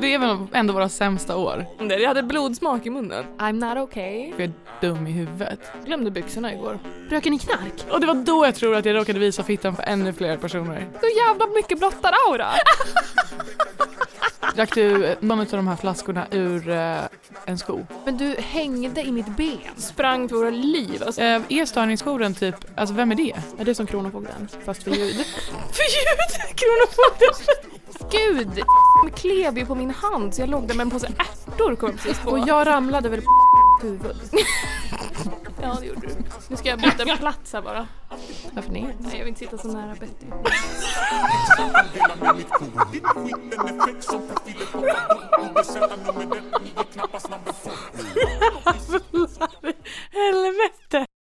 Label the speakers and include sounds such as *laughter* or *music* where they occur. Speaker 1: Det är väl ändå våra sämsta år.
Speaker 2: Nej, Jag hade blodsmak i munnen. I'm not okay.
Speaker 1: För jag är dum i huvudet.
Speaker 2: Glömde byxorna igår.
Speaker 3: Röker ni knark?
Speaker 1: Och det var då jag tror att jag råkade visa fittan för ännu fler personer.
Speaker 2: Så jävla mycket blottad aura.
Speaker 1: Drack du eh, någon av de här flaskorna ur eh, en sko?
Speaker 3: *laughs* Men du hängde i mitt ben.
Speaker 2: Sprang för våra liv. Alltså,
Speaker 1: Eh, är störningsjouren typ, alltså vem är det?
Speaker 3: Är det som Kronofogden? Fast för ljud.
Speaker 1: För ljud! Kronofogden!
Speaker 2: gud, klev ju på min hand så jag låg där med en påse ärtor kom jag precis på.
Speaker 3: Och jag ramlade väl på huvud.
Speaker 2: Ja, det gjorde du. Nu ska jag byta plats här bara.
Speaker 3: Varför ner?
Speaker 2: Nej, jag vill inte sitta så nära Betty.
Speaker 1: Helvete!